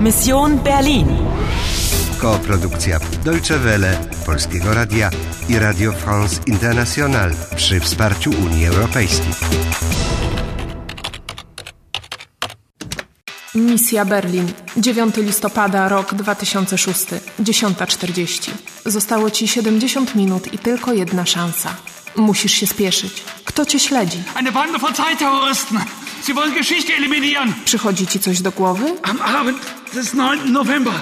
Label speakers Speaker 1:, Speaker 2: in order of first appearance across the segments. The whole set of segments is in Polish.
Speaker 1: Mission Berlin.
Speaker 2: Koprodukcja Deutsche Welle, Polskiego Radia i Radio France International przy wsparciu Unii Europejskiej.
Speaker 3: Misja Berlin, 9 listopada, rok 2006, 10.40. Zostało ci 70 minut i tylko jedna szansa. Musisz się spieszyć. Kto cię śledzi?
Speaker 4: Eine Bande von Zeitterroristen. Sie wollen Geschichte eliminieren.
Speaker 3: Przychodzi ci coś do głowy?
Speaker 4: Am Abend des 9. November.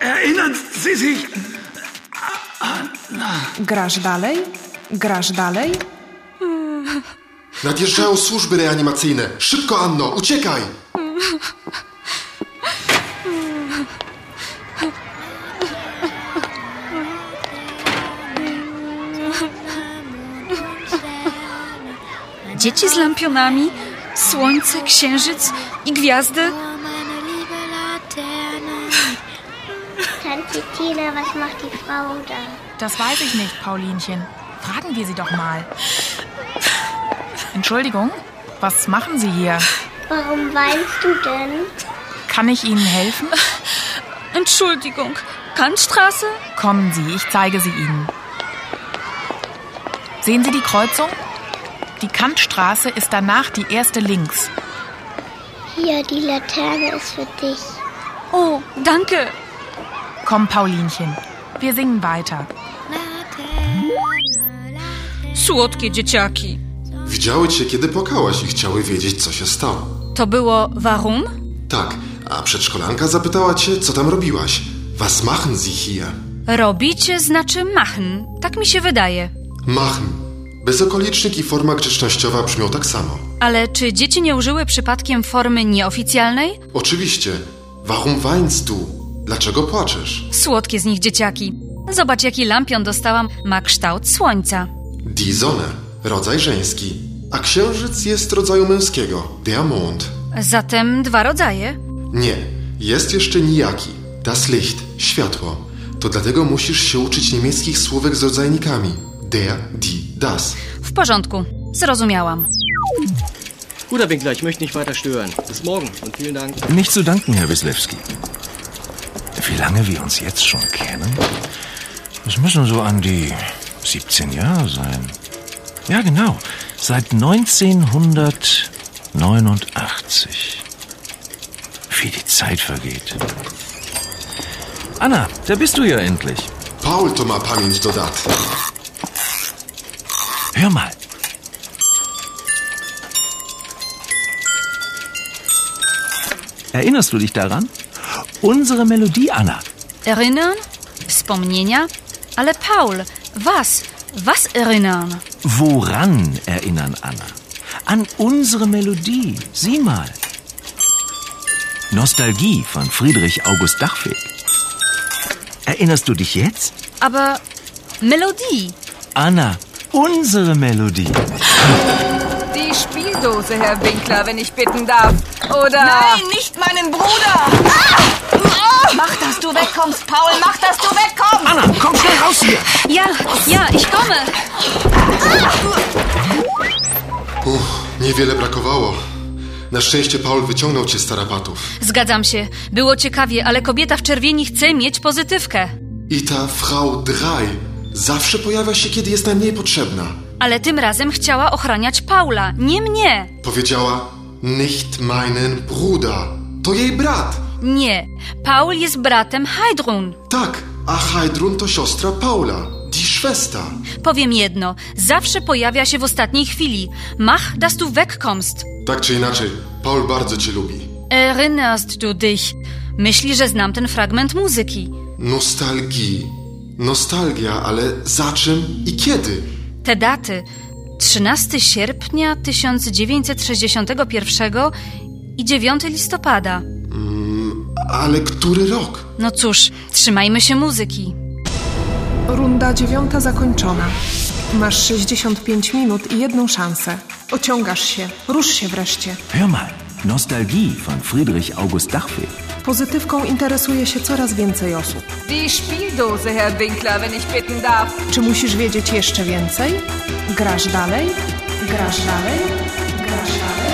Speaker 4: Erinnern Sie sich?
Speaker 3: Grasz dalej? Grasz dalej?
Speaker 5: Nadjeżdżają służby reanimacyjne. Szybko, Anno, uciekaj!
Speaker 6: Dzieci z lampionami, słońce, księżyc i gwiazdy.
Speaker 7: Oh, meine liebe Laterne.
Speaker 8: Tante Tina, was macht die Frau da?
Speaker 9: Das weiß ich nicht, Paulinchen. Fragen wir sie doch mal. Entschuldigung, was machen Sie hier?
Speaker 8: Warum weinst du denn?
Speaker 9: Kann ich Ihnen helfen?
Speaker 6: Entschuldigung, Kantstraße?
Speaker 9: Kommen Sie, ich zeige sie Ihnen. Sehen Sie die Kreuzung? Die Kantstraße ist danach die erste links.
Speaker 8: Hier, die Laterne ist für dich.
Speaker 6: Oh, danke.
Speaker 9: Komm, Paulinchen, wir singen weiter.
Speaker 6: Słodkie dzieciaki.
Speaker 5: Widziały cię, kiedy płakałaś i chciały wiedzieć, co się stało.
Speaker 6: To było warum?
Speaker 5: Tak, a przedszkolanka zapytała cię, co tam robiłaś. Was machen Sie hier?
Speaker 6: Robić znaczy machen. Tak mi się wydaje.
Speaker 5: Machen. Bezokolicznik i forma grzecznościowa brzmią tak samo.
Speaker 6: Ale czy dzieci nie użyły przypadkiem formy nieoficjalnej?
Speaker 5: Oczywiście. Warum weinst du? Dlaczego płaczesz?
Speaker 6: Słodkie z nich dzieciaki. Zobacz, jaki lampion dostałam. Ma kształt słońca.
Speaker 5: Die Sonne, rodzaj żeński. A księżyc jest rodzaju męskiego. Der Mond.
Speaker 6: Zatem dwa rodzaje.
Speaker 5: Nie, jest jeszcze nijaki. Das Licht, światło. To dlatego musisz się uczyć niemieckich słówek z rodzajnikami. Der, die, das.
Speaker 6: W porządku, zrozumiałam.
Speaker 10: Guter Winkler, ich möchte nicht weiter stören. Bis morgen und vielen Dank.
Speaker 11: Nicht zu danken, Herr Wislewski. Wie lange wir uns jetzt schon kennen? Es müssen so an die 17 Jahre sein. Ja, genau. Seit 1989. Wie die Zeit vergeht. Anna, da bist du ja endlich.
Speaker 5: Paul to ma pamięć do dat.
Speaker 11: Hör mal. Erinnerst du dich daran? Unsere Melodie, Anna.
Speaker 6: Erinnern? Wspomnienia? Ale Paul, was? Was erinnern?
Speaker 11: Woran erinnern, Anna? An unsere Melodie. Sieh mal. Nostalgie von Friedrich August Dachweg. Erinnerst du dich jetzt?
Speaker 6: Aber Melodie.
Speaker 11: Anna, unsere Melodie.
Speaker 9: Die Spieldose, Herr Winkler, wenn ich bitten darf. Oder.
Speaker 3: No
Speaker 9: Nein, nicht meinen Bruder! Mach, dass du wegkommst, Paul, mach, dass du wegkommst!
Speaker 11: Anna, komm schnell raus hier.
Speaker 6: Ja, ja, ich komme.
Speaker 5: Uff, niewiele brakowało. Na szczęście Paul wyciągnął cię z tarapatów.
Speaker 6: Zgadzam się. Było ciekawie, ale kobieta w czerwieni chce mieć pozytywkę.
Speaker 5: I ta Frau Drei zawsze pojawia się, kiedy jest najmniej potrzebna.
Speaker 6: Ale tym razem chciała ochraniać Paula, nie mnie.
Speaker 5: Powiedziała, nicht meinen Bruder. To jej brat.
Speaker 6: Nie. Paul jest bratem Heidrun.
Speaker 5: Tak, a Heidrun to siostra Paula. Die Schwester.
Speaker 6: Powiem jedno. Zawsze pojawia się w ostatniej chwili. Mach, dass du wegkommst.
Speaker 5: Tak czy inaczej, Paul bardzo cię lubi.
Speaker 6: Erinnerst du dich? Myśli, że znam ten fragment muzyki.
Speaker 5: Nostalgii. Nostalgia, ale za czym i kiedy?
Speaker 6: Te daty 13 sierpnia 1961 i 9 listopada.
Speaker 5: Ale który rok?
Speaker 6: No cóż, trzymajmy się muzyki.
Speaker 3: Runda dziewiąta zakończona. Masz 65 minut i jedną szansę. Ociągasz się, rusz się wreszcie.
Speaker 11: Hör mal. Nostalgie von Friedrich August Dachweg.
Speaker 3: Pozytywką interesuje się coraz więcej osób.
Speaker 9: Die Spieldose, Herr Winkler, wenn ich bitten darf.
Speaker 3: Czy musisz wiedzieć jeszcze więcej? Grasz dalej? Grasz dalej? Grasz dalej?